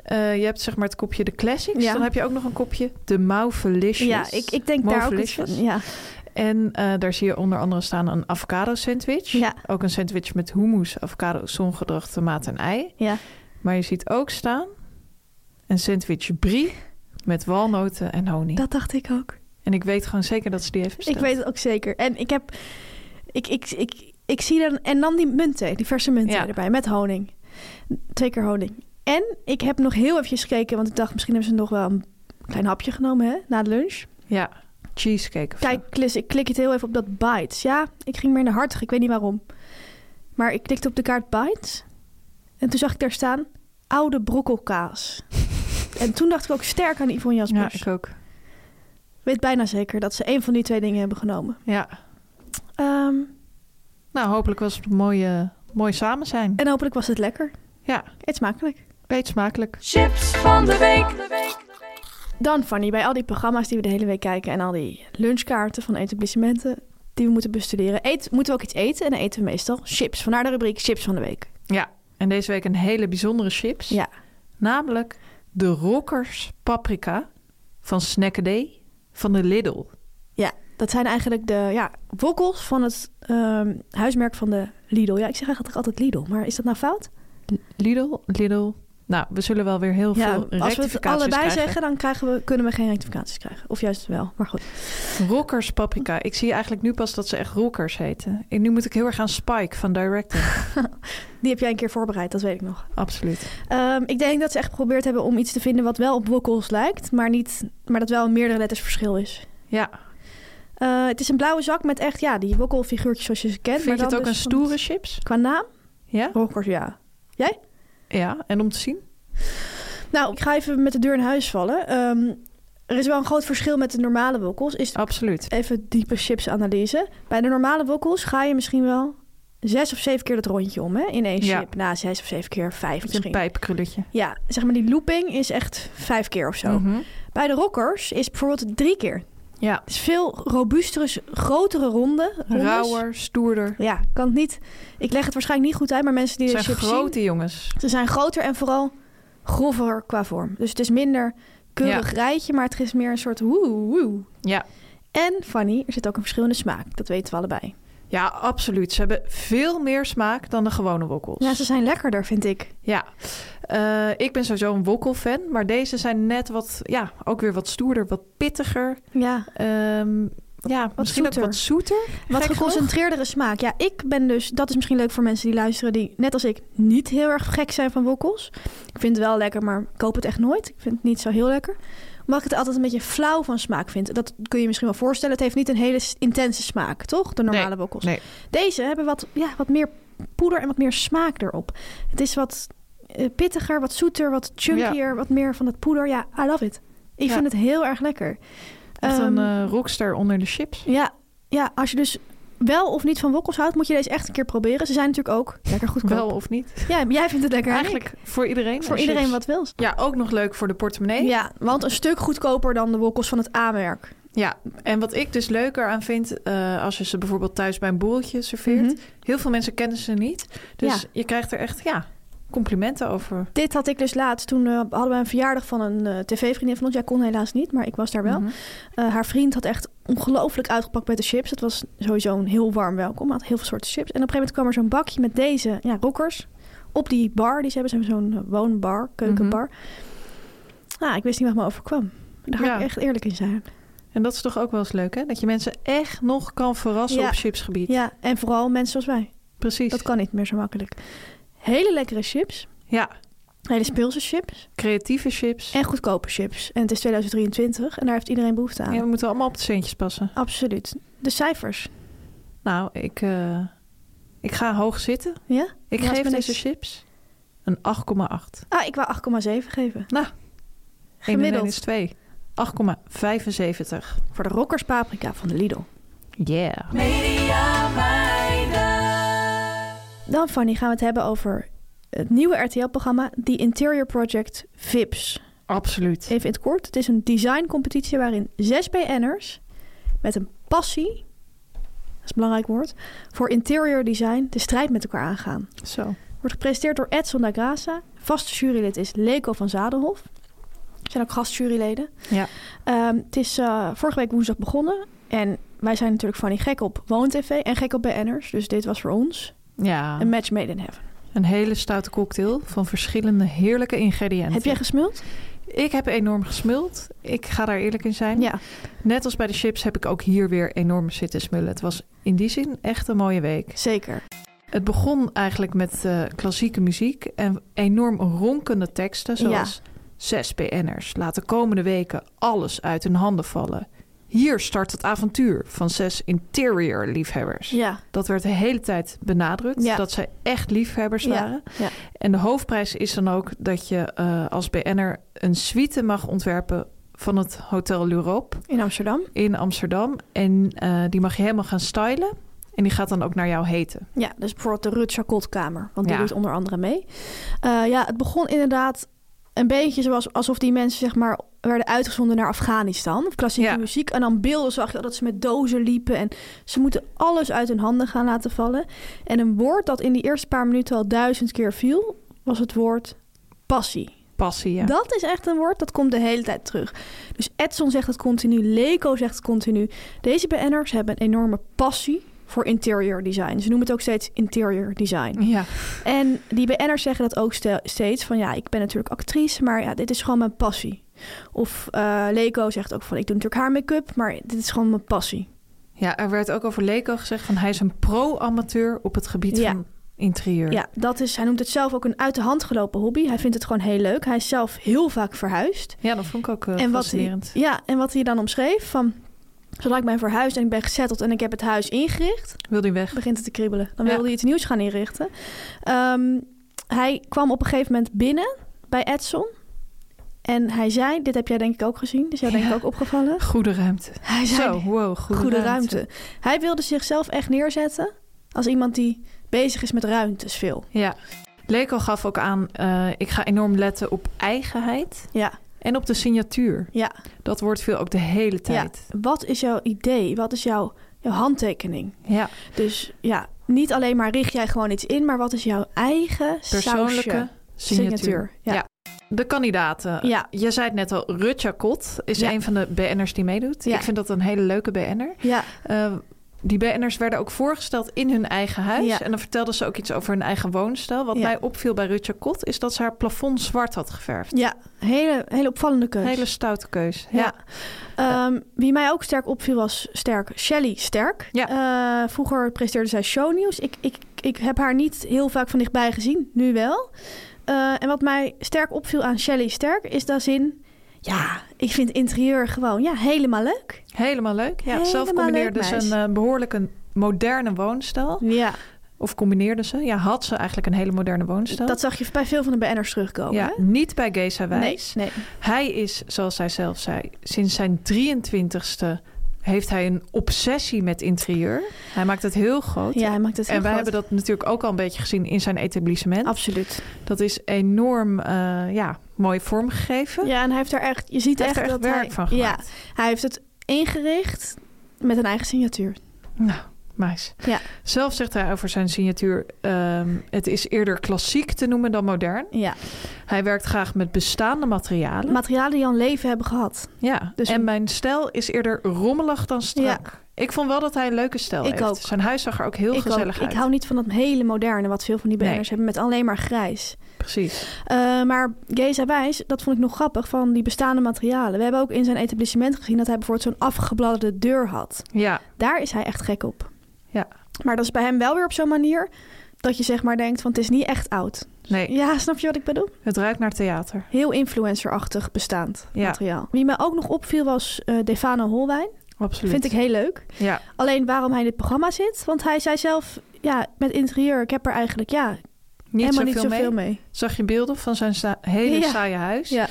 Eh, je hebt zeg maar het kopje de classics. Ja. Dan heb je ook nog een kopje de Mauvelicious. Ja, ik, ik denk daar ook iets van. Mauvelicious. Ja. En eh, daar zie je onder andere staan een avocado sandwich. Ja. Ook een sandwich met hummus, avocado, zongedrag, tomaat en ei. Ja. Maar je ziet ook staan een sandwich brie met walnoten en honing. Dat dacht ik ook. En ik weet gewoon zeker dat ze die heeft besteld. Ik weet het ook zeker. En ik heb... Ik, ik, ik, ik zie dan... En dan die munten, die verse munten Ja. erbij, met honing. Twee keer honing. En ik heb nog heel eventjes gekeken, want ik dacht misschien hebben ze nog wel een klein hapje genomen, hè, na de lunch. Ja, cheesecake of zo. Kijk, Klis, ik klik het heel even op dat bites. Ja, ik ging meer naar hartig, ik weet niet waarom. Maar ik klikte op de kaart bites. En toen zag ik daar staan oude brokkelkaas. en toen dacht ik ook sterk aan Yvonne Ja, Jaspers. ik ook. Ik weet bijna zeker dat ze één van die twee dingen hebben genomen. Ja. Ehm, Nou, hopelijk was het een mooie, mooi samen zijn. en hopelijk was het lekker. Ja, Eet smakelijk. eet smakelijk. Chips van de week. Dan, Fanny, bij al die programma's die we de hele week kijken... en al die lunchkaarten van etablissementen die we moeten bestuderen... Eet, moeten we ook iets eten en dan eten we meestal chips. Vandaar de rubriek Chips van de Week. Ja, en deze week een hele bijzondere chips. Ja, Namelijk de Rokkers paprika van Snackaday van de Lidl. Ja, dat zijn eigenlijk de ja, wokkels van het ehm, huismerk van de Lidl. Ja, ik zeg eigenlijk altijd Lidl, maar is dat nou fout? Lidl, Lidl. Nou, we zullen wel weer heel Ja, veel als we rectificaties het allebei krijgen. zeggen, dan krijgen we, kunnen we geen rectificaties krijgen. Of juist wel, maar goed. Rockers paprika. Ik zie eigenlijk nu pas dat ze echt rockers heten. En nu moet ik heel erg aan Spike van Directing. Die heb jij een keer voorbereid, dat weet ik nog. Absoluut. Ehm, ik denk dat ze echt geprobeerd hebben om iets te vinden wat wel op wokkels lijkt, maar, niet, maar dat wel meerdere letters verschil is. Ja. Eh, het is een blauwe zak met echt ja, die wokkelfiguurtjes zoals je ze kent. maar Vind je het dan ook een dus van- stoere chips? Qua naam? Ja. Rokkers, ja. Ja. En om te zien? Nou, ik ga even met de deur in huis vallen. Ehm, er is wel een groot verschil met de normale wokkels. Is Absoluut. even diepe chipsanalyse. Bij de normale wokkels ga je misschien wel zes of zeven keer dat rondje om hè? in één Ja. chip. Nou, zes of zeven keer vijf Het is een misschien. pijpkrulletje. Ja, zeg maar die looping is echt vijf keer of zo. Mhm. Bij de rockers is bijvoorbeeld drie keer. Ja. Het is veel robuustere, grotere ronde. rondes. Rauwer, stoerder. Ja, kan het niet. Ik leg het waarschijnlijk niet goed uit, maar mensen die Het de zijn chips grote jongens. zien, ze zijn groter en vooral grover qua vorm. Dus het is minder keurig rijtje, maar het is meer een soort woe woe. Ja. En Fanny, er zit ook een verschillende smaak. Dat weten we allebei. Ja, absoluut. Ze hebben veel meer smaak dan de gewone wokkels. Ja, ze zijn lekkerder, vind ik. Ja, Eh, ik ben sowieso een wokkelfan, maar deze zijn net wat, ja, ook weer wat stoerder, wat pittiger. Ja, Ehm, ja, misschien zoeter. ook wat zoeter. wat Gek geconcentreerdere smaak. Ja, ik ben dus, dat is misschien leuk voor mensen die luisteren, die net als ik niet heel erg gek zijn van wokkels. Ik vind het wel lekker, maar ik koop het echt nooit. Ik vind het niet zo heel lekker. Omdat ik het altijd een beetje flauw van smaak vind. Dat kun je misschien wel voorstellen. Het heeft niet een hele s- intense smaak, toch? De normale wokkels. nee. Deze hebben wat, ja, wat meer poeder en wat meer smaak erop. Het is wat eh, pittiger, wat zoeter, wat chunkier, wat meer van het poeder. Ja, I love it. Ik Ja. vind het heel erg lekker. Echt een Ehm, eh, rockster onder de chips. ja, ja, als je dus wel of niet van wokkels houdt, moet je deze echt een keer proberen. Ze zijn natuurlijk ook lekker goedkoop. Wel of niet? Ja, jij vindt het lekker. en ik. Eigenlijk voor iedereen. voor de iedereen chips. wat wils. Ja, ook nog leuk voor de portemonnee. Ja, want een stuk goedkoper dan de wokkels van het A-merk. Ja, en wat ik dus leuker aan vind, eh, als je ze bijvoorbeeld thuis bij een boeltje serveert. Mhm. Heel veel mensen kennen ze niet. Dus Ja. je krijgt er echt ja, complimenten over. Dit had ik dus laatst. Toen eh, hadden we een verjaardag van een eh, tv-vriendin van ons. Jij kon helaas niet, maar ik was daar wel. Mhm. Eh, haar vriend had echt ongelooflijk uitgepakt met de chips. Het was sowieso een heel warm welkom. Hij had heel veel soorten chips. En op een gegeven moment kwam er zo'n bakje met deze ja, rockers op die bar. Die ze hebben Ze hebben zo'n eh, woonbar, keukenbar. Nou, ik wist niet wat me overkwam. Daar ga Mhm. Ja. ik echt eerlijk in zijn. En dat is toch ook wel eens leuk, hè? Dat je mensen echt nog kan verrassen Ja. op chipsgebied. Ja, en vooral mensen zoals wij. Precies. Dat kan niet meer zo makkelijk. Hele lekkere chips. Ja, Hele speelse chips. creatieve chips. En goedkope chips. En het is 2023 en daar heeft iedereen behoefte aan. Ja, we moeten allemaal op de centjes passen. Absoluut. De cijfers. Nou, ik, eh, ik ga hoog zitten. Ja? Ik Ja, geef ben deze ik- chips een 8,8. Ah, ik wou 8,7 geven. Nou, 1 en 1 Gemiddeld. is 2. 8,75. Voor de rockers paprika van de Lidl. Yeah. Dan, Fanny, gaan we het hebben over het nieuwe RTL-programma, The Interior Project VIPS. Absoluut. Even in het kort, het is een designcompetitie waarin zes BN'ers met een passie, dat is een belangrijk woord, voor interior design de strijd met elkaar aangaan. Zo. Wordt gepresenteerd door Edson da Graça. Vaste jurylid is Leko van Zadenhof. Er zijn ook gastjuryleden. Ja. Ehm, het is eh, vorige week woensdag begonnen. En wij zijn natuurlijk Fanny gek op WoonTV en gek op BN'ers. Dus dit was voor ons Ja. een match made in heaven. Een hele stoute cocktail van verschillende heerlijke ingrediënten. Heb jij gesmuld? ik heb enorm gesmuld. Ik ga daar eerlijk in zijn. Ja. Net als bij de chips heb ik ook hier weer enorm zitten smullen. Het was in die zin echt een mooie week. Zeker. Het begon eigenlijk met eh, klassieke muziek en enorm ronkende teksten, zoals zes BN'ers laten komende weken alles uit hun handen vallen. Hier start het avontuur van zes interior-liefhebbers. Ja. Dat werd de hele tijd benadrukt, Ja. dat zij echt liefhebbers Ja. waren. ja. En de hoofdprijs is dan ook dat je eh, als BN'er een suite mag ontwerpen van het Hotel L'Europe In Amsterdam. in Amsterdam. En eh, die mag je helemaal gaan stylen. En die gaat dan ook naar jou heten. Ja, dus bijvoorbeeld de Rut Chacotkamer. Want die Ja. doet onder andere mee. Eh, ja, het begon inderdaad een beetje zoals, alsof die mensen zeg maar werden uitgezonden naar Afghanistan. Of klassieke Ja. muziek. En dan beelden zag je dat ze met dozen liepen. En ze moeten alles uit hun handen gaan laten vallen. En een woord dat in die eerste paar minuten al duizend keer viel... was het woord passie. Passie, ja. Dat is echt een woord dat komt de hele tijd terug. Dus Edson zegt het continu, Leco zegt het continu. Deze BN'ers hebben een enorme passie voor interior design. Ze noemen het ook steeds interior design. ja. En die BN'ers zeggen dat ook ste- steeds van ja, ik ben natuurlijk actrice, maar ja, dit is gewoon mijn passie. Of eh, Leco zegt ook van ik doe natuurlijk haar make-up, maar dit is gewoon mijn passie. Ja, er werd ook over Leko gezegd van hij is een pro-amateur op het gebied Ja. van interieur. Ja, dat is, hij noemt het zelf ook een uit de hand gelopen hobby. Hij vindt het gewoon heel leuk. Hij is zelf heel vaak verhuisd. Ja, dat vond ik ook eh, En wat, hij, fascinerend. ja, en wat hij dan omschreef van... Zodra ik ben verhuisd en ik ben gezetteld en ik heb het huis ingericht... Wil die weg? begint het te kriebelen. Dan Ja. wilde hij iets nieuws gaan inrichten. Ehm, hij kwam op een gegeven moment binnen bij Edson. En hij zei, dit heb jij denk ik ook gezien, dus jou denk ik Ja. ook opgevallen. Goede ruimte. Hij zei, Zo, wow, goede, goede ruimte. Hij wilde zichzelf echt neerzetten als iemand die bezig is met ruimtes veel. Ja. Leko gaf ook aan, eh, ik ga enorm letten op eigenheid Ja, en op de signatuur. ja, Dat wordt veel ook de hele ja. tijd. Wat is jouw idee? Wat is jouw, jouw handtekening? Ja. Dus ja, niet alleen maar richt jij gewoon iets in, maar wat is jouw eigen Persoonlijke sausje? signatuur. signatuur, ja. De kandidaten. Ja. Je zei het net al, Rutja Kot is Ja. een van de BN'ers die meedoet. Ja. Ik vind dat een hele leuke BN'er. Ja, Eh, die BN'ers werden ook voorgesteld in hun eigen huis. Ja. En dan vertelden ze ook iets over hun eigen woonstijl. Wat Ja. mij opviel bij Rutja Kot is dat ze haar plafond zwart had geverfd. ja. Hele, hele opvallende keus. Hele stoute keus. Ja. Ja. Ehm, wie mij ook sterk opviel was sterk Shelly Sterk. Ja. Eh, vroeger presteerde zij shownieuws. Ik, ik, ik heb haar niet heel vaak van dichtbij gezien, nu wel. Eh, en wat mij sterk opviel aan Shelly Sterk is dat zin... Ja, ik vind interieur gewoon ja, helemaal leuk. Helemaal leuk. Ja. Zelf Helemaal combineerde leuk, ze meis. een eh, behoorlijk een moderne woonstijl. Ja, Of combineerde ze. Ja, had ze eigenlijk een hele moderne woonstijl. dat zag je bij veel van de BN'ers terugkomen. ja, hè? niet bij Geza Nee, Wijs. nee. Hij is, zoals hij zelf zei, sinds zijn 23ste heeft hij een obsessie met interieur. Hij maakt het heel groot. Ja, hij maakt het heel en wij groot. hebben dat natuurlijk ook al een beetje gezien in zijn etablissement. Absoluut. Dat is enorm eh, ja, mooi vormgegeven. Ja, en hij heeft daar echt... Je ziet Hij echt, heeft er echt dat werk hij, van Ja, gemaakt. hij heeft het ingericht met een eigen signatuur. Nou, meis. Ja. Zelf zegt hij over zijn signatuur... ehm, het is eerder klassiek te noemen dan modern. Ja. Hij werkt graag met bestaande materialen. Materialen die al een leven hebben gehad. ja. dus- en mijn stijl is eerder rommelig dan strak. Ik vond wel dat hij een leuke stijl Ik heeft. ook. Zijn huis zag er ook heel ik, ook. gezellig uit. ik hou niet van dat hele moderne wat veel van die Nee. banners hebben met alleen maar grijs. Precies. Eh, maar Geza Wijs, dat vond ik nog grappig van die bestaande materialen. We hebben ook in zijn etablissement gezien dat hij bijvoorbeeld zo'n afgebladderde deur had. Ja, Daar is hij echt gek op. ja. Maar dat is bij hem wel weer op zo'n manier dat je zeg maar denkt van het is niet echt oud. Nee, Ja, snap je wat ik bedoel? het ruikt naar theater. Heel influencerachtig bestaand Ja. materiaal. Wie mij ook nog opviel was eh Defano Holwijn. Absoluut. Vind ik heel leuk. Ja, Alleen waarom hij in dit programma zit, want hij zei zelf, ja, met interieur, ik heb er eigenlijk ja, niet helemaal zoveel, niet zoveel mee. mee. Zag je beelden van zijn sta- hele Ja. saaie huis. Ja,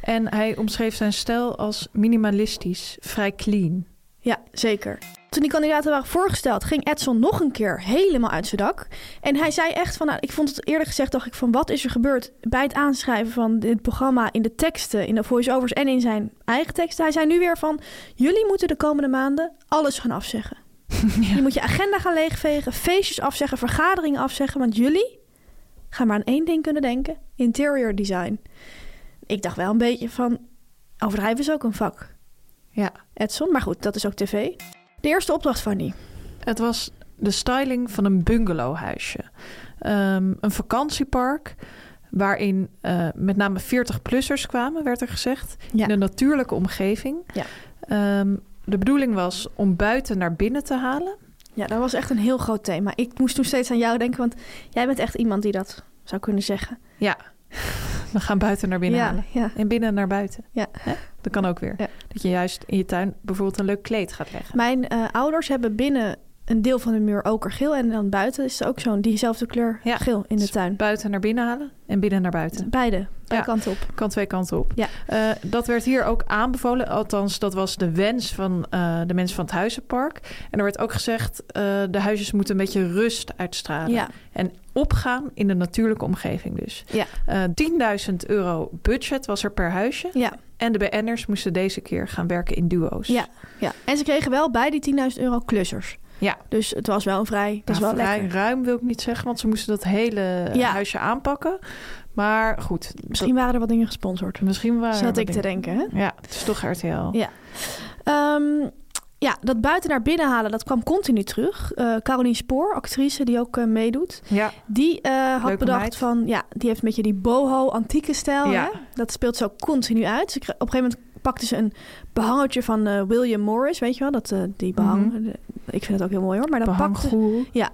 En hij omschreef zijn stijl als minimalistisch, vrij clean. ja, zeker. Toen die kandidaten waren voorgesteld, ging Edson nog een keer helemaal uit zijn dak. En hij zei echt van, nou, ik vond het eerlijk gezegd, dacht ik van, wat is er gebeurd bij het aanschrijven van dit programma in de teksten, in de voice-overs en in zijn eigen teksten. Hij zei nu weer van, jullie moeten de komende maanden alles gaan afzeggen. Je moet je agenda gaan leegvegen, feestjes afzeggen, vergaderingen afzeggen, want jullie gaan maar aan één ding kunnen denken, interior design. Ik dacht wel een beetje van, overdrijven is ook een vak. Ja, Edson. Maar goed, dat is ook tv. De eerste opdracht van die. het was de styling van een bungalowhuisje. Ehm, een vakantiepark waarin eh, met name 40-plussers kwamen, werd er gezegd. Ja. In een natuurlijke omgeving. Ja. Ehm, de bedoeling was om buiten naar binnen te halen. Ja, dat was echt een heel groot thema. Ik moest toen steeds aan jou denken, want jij bent echt iemand die dat zou kunnen zeggen. Ja, we gaan buiten naar binnen halen. Ja, ja. En binnen naar buiten. Ja. Hè? Dat kan ook weer. Ja. Dat je juist in je tuin bijvoorbeeld een leuk kleed gaat leggen. Mijn eh, ouders hebben binnen een deel van de muur okergeel. En dan buiten is er ook zo'n diezelfde kleur Ja. geel in de Dus tuin. Buiten naar binnen halen en binnen naar buiten. Beide, beide Ja. kanten op. Kan twee kanten op. Ja. Eh, dat werd hier ook aanbevolen. Althans, dat was de wens van eh, de mensen van het Huizenpark. En er werd ook gezegd, eh, de huisjes moeten een beetje rust uitstralen. Ja. En opgaan in de natuurlijke omgeving dus. Ja. Eh, 10.000 euro budget was er per huisje. Ja, En de BN'ers moesten deze keer gaan werken in duo's. ja, ja. En ze kregen wel bij die 10.000 euro klussers. ja. Dus het was wel een vrij, dat is Nou, wel vrij lekker. ruim wil ik niet zeggen, want ze moesten dat hele eh, Ja. huisje aanpakken. Maar goed, Misschien waren er wat dingen gesponsord. dat- misschien waren Zat er ik te dingen- denken, hè? Ja, het is toch RTL. Ja. Ehm, ja, dat buiten naar binnen halen, dat kwam continu terug. Eh Caroline Spoor, actrice die ook eh, meedoet, Ja. die eh, had Leuke bedacht meid. van, ja, die heeft een beetje die boho-antieke stijl. Ja. Hè? Dat speelt ze ook continu uit. Ze kre- op een gegeven moment pakte ze een behangertje van eh, William Morris, weet je wel? Dat, eh, die behang, Mhm. de- ik vind het ook heel mooi hoor. Maar dan pakte, Behanggoel. ja,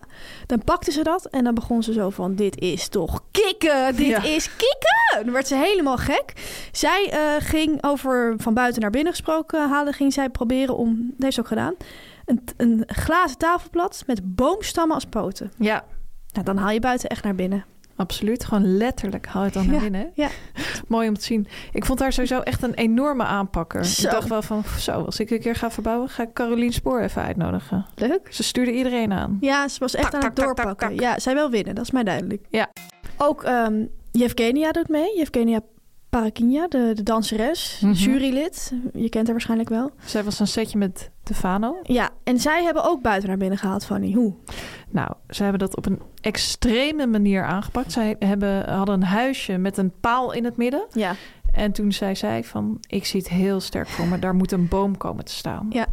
dan pakte ze dat en dan begon ze zo van... dit is toch kikken, dit Ja. is kikken. Dan werd ze helemaal gek. Zij eh, ging over van buiten naar binnen gesproken halen... ging zij proberen om, dat heeft ze ook gedaan... een, een glazen tafelblad met boomstammen als poten. Ja, Nou, dan haal je buiten echt naar binnen. absoluut. Gewoon letterlijk hou het dan naar Ja, binnen. ja. Mooi om te zien. Ik vond haar sowieso echt een enorme aanpakker. Zo. Ik dacht wel van, zo, als ik een keer ga verbouwen... ga ik Carolien Spoor even uitnodigen. Leuk. Ze stuurde iedereen aan. Ja, ze was echt aan het tak, tak, doorpakken. tak, Ja, zij wil winnen, dat is mij duidelijk. Ja. Ook ehm Yevgenia doet mee. Yevgenia Parakinia, de, de danseres, Mhm. jurylid. Je kent haar waarschijnlijk wel. Zij was een setje met Tefano. Ja, en zij hebben ook buiten naar binnen gehaald, Fanny. Hoe? Nou, ze hebben dat op een extreme manier aangepakt. Zij hebben, hadden een huisje met een paal in het midden. Ja. En toen zei zij van, ik zie het heel sterk voor me. Daar moet een boom komen te staan. Ja.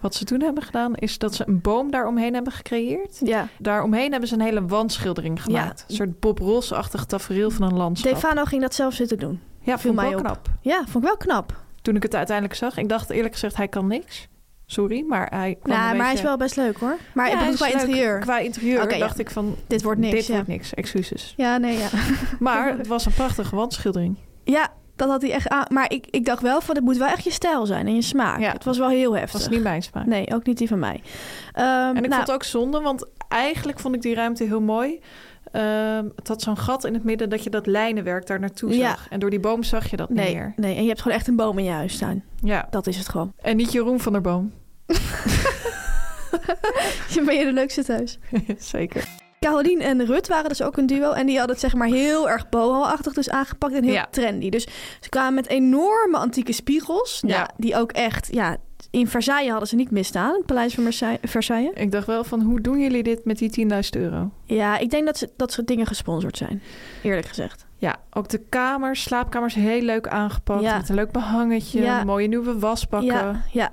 Wat ze toen hebben gedaan, is dat ze een boom daaromheen hebben gecreëerd. ja. Daaromheen hebben ze een hele wandschildering gemaakt. Een soort Bob Ross-achtig tafereel van een landschap. Stefano ging dat zelf zitten doen. ja, viel vond ik mij wel op. knap. Ja, vond ik wel knap. Toen ik het uiteindelijk zag, ik dacht eerlijk gezegd, hij kan niks. Sorry, maar hij kwam Nou, een maar hij is beetje- wel best leuk hoor. Maar Ja, ik hij bedoel is qua leuk. interieur. Qua interieur Oké, ja. dacht ik van, Dit wordt niks. dit ja. wordt niks, excuses. ja, nee, ja. Maar het was een prachtige wandschildering. ja, dat had hij echt aan. Maar ik, ik dacht wel van, het moet wel echt je stijl zijn en je smaak. Ja. Het was wel heel heftig. was niet mijn smaak. Nee, ook niet die van mij. Ehm, En ik nou, vond het ook zonde, want eigenlijk vond ik die ruimte heel mooi. Ehm, het had zo'n gat in het midden dat je dat lijnenwerk daar naartoe Ja. zag. En door die boom zag je dat niet Nee, meer. nee, en je hebt gewoon echt een boom in je huis staan. Ja. Dat is het gewoon. En niet Jeroen van der Boom. Dan ben je de leukste thuis. Zeker. Carolien en Rut waren dus ook een duo. En die hadden het zeg maar heel erg boho-achtig dus aangepakt. En heel Ja. trendy. Dus ze kwamen met enorme antieke spiegels. Ja. Ja. die ook echt... Ja, in Versailles hadden ze niet misstaan. Het paleis van Marseille- Versailles. Ik dacht wel van, hoe doen jullie dit met die 10.000 euro? Ja, ik denk dat ze dat soort dingen gesponsord zijn. Eerlijk gezegd. Ja, ook de kamers, slaapkamers, heel leuk aangepakt. Ja. Met een leuk behangetje, Ja. mooie nieuwe wasbakken. Ja, ja.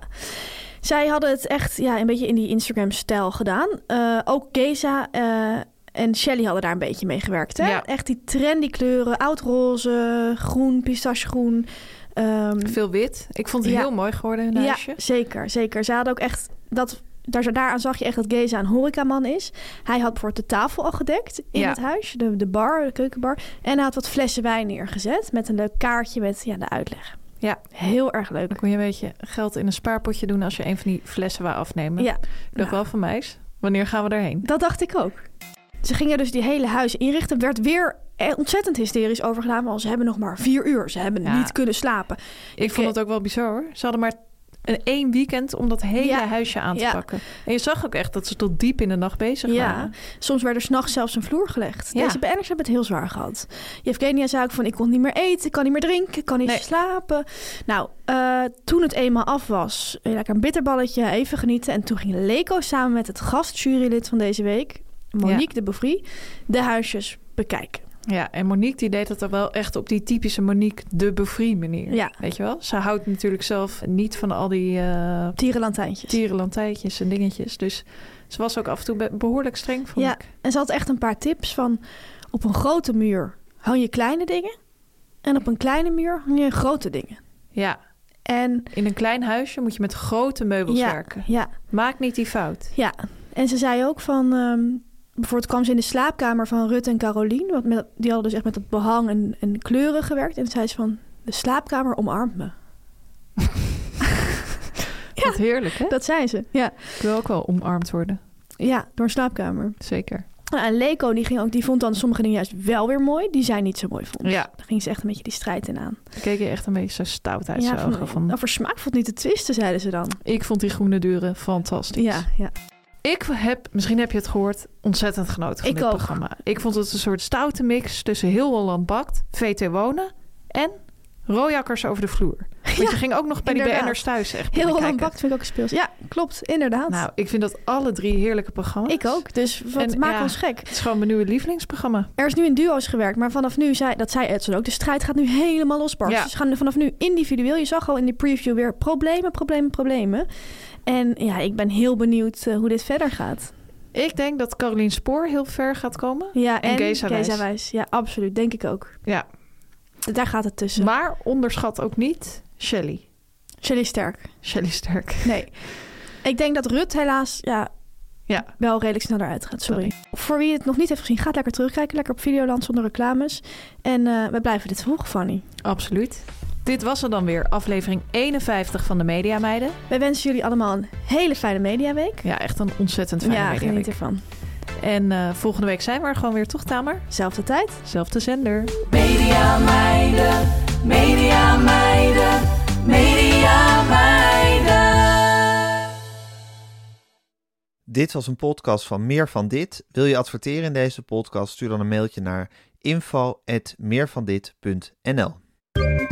Zij hadden het echt ja, een beetje in die Instagram-stijl gedaan. Eh, ook Geza eh, en Shelly hadden daar een beetje mee gewerkt. Hè? Ja. Echt die trendy kleuren. Oudroze, groen, pistachegroen. ehm, Veel wit. Ik vond het Ja. heel mooi geworden, hun huisje. Ja, zeker, zeker. Ze hadden ook echt dat. Daar, daaraan zag je echt dat Geza een horecaman is. Hij had bijvoorbeeld de tafel al gedekt in Ja. het huis, de, de bar, de keukenbar. En hij had wat flessen wijn neergezet met een leuk kaartje met ja, de uitleg. Ja. Heel erg leuk. Dan kon je een beetje geld in een spaarpotje doen als je een van die flessen wou afnemen. Ja, Ik dacht wel van meis, wanneer gaan we daarheen? dat dacht ik ook. Ze gingen dus die hele huis inrichten. Werd weer eh, ontzettend hysterisch over gedaan. Want ze hebben nog maar vier uur. Ze hebben Ja. niet kunnen slapen. Ik eh, vond het ook wel bizar hoor. Ze hadden maar een één weekend om dat hele Ja. huisje aan te Ja. pakken. En je zag ook echt dat ze tot diep in de nacht bezig Ja, waren. soms werd er s'nachts zelfs een vloer gelegd. Ja. Deze BN'ers hebben het heel zwaar gehad. Yevgenia zei ook van, ik kon niet meer eten, ik kan niet meer drinken, ik kan niet Nee. slapen. Nou, eh, toen het eenmaal af was, eh, lekker een bitterballetje, even genieten. En toen ging Leko samen met het gastjurylid van deze week, Monique de Beauvry, de huisjes bekijken. Ja, en Monique die deed dat dan wel echt op die typische Monique de Beaufry manier. Ja. Weet je wel? Ze houdt natuurlijk zelf niet van al die eh Tierenlantijntjes. tierenlantijntjes en dingetjes. Dus ze was ook af en toe be- behoorlijk streng vond Ja, ik. en ze had echt een paar tips van, op een grote muur hang je kleine dingen. En op een kleine muur hang je grote dingen. Ja, En in een klein huisje moet je met grote meubels ja, werken. ja, Maak niet die fout. Ja, en ze zei ook van... ehm, bijvoorbeeld kwam ze in de slaapkamer van Rut en Carolien. Want met, die hadden dus echt met dat behang en, en kleuren gewerkt. En toen zei ze van, de slaapkamer omarmt me. Wat heerlijk hè? Dat zei ze, ja. Ik wil ook wel omarmd worden. Ja, door een slaapkamer. Zeker. Nou, en Leko, die, ging ook, die vond dan sommige dingen juist wel weer mooi... die zij niet zo mooi vond. Ja. Daar ging ze echt een beetje die strijd in aan. Dan keek je echt een beetje zo stout uit zijn ogen. Van, over smaak valt niet te twisten, zeiden ze dan. Ik vond die groene duren fantastisch. Ja, ja. Ik heb, misschien heb je het gehoord, ontzettend genoten van Ik dit ook. programma. Ik vond het een soort stoute mix tussen heel Holland bakt, VT Wonen en Rooijakkers over de vloer. Want je Ja, ging ook nog bij inderdaad. die BN'ers thuis echt Heel kijken. Holland Bakt vind ik ook een speels. Ja, klopt. Inderdaad. Nou, ik vind dat alle drie heerlijke programma's. ik ook. Dus wat En maakt ja, ons gek? Het is gewoon mijn nieuwe lievelingsprogramma. Er is nu in duo's gewerkt, maar vanaf nu, zei, dat zei Edson ook, de strijd gaat nu helemaal losbarsten. Ja. Ze gaan vanaf nu individueel. Je zag al in de preview weer problemen, problemen, problemen. En ja, ik ben heel benieuwd eh, hoe dit verder gaat. Ik denk dat Carolien Spoor heel ver gaat komen. Ja, En en Geza Wijs. Geza Wijs. Ja, absoluut. Denk ik ook. Ja. Daar gaat het tussen. Maar onderschat ook niet Shelley. Shelley Sterk. Shelley Sterk. Nee. ik denk dat Rut helaas ja, Ja. wel redelijk snel eruit gaat. Sorry. Voor wie het nog niet heeft gezien, gaat lekker terugkijken. Lekker op Videoland zonder reclames. En eh, we blijven dit volgen, Fanny. Absoluut. Dit was er dan weer, aflevering 51 van de Media Meiden. Wij wensen jullie allemaal een hele fijne mediaweek. Ja, echt een ontzettend fijne ja, Media geniet Week. ervan. En eh, volgende week zijn we er gewoon weer, toch Tamer? Zelfde tijd. Zelfde zender. Media meiden, media meiden, media meiden. Dit was een podcast van Meer van Dit. Wil je adverteren in deze podcast? Stuur dan een mailtje naar info.meervandit.nl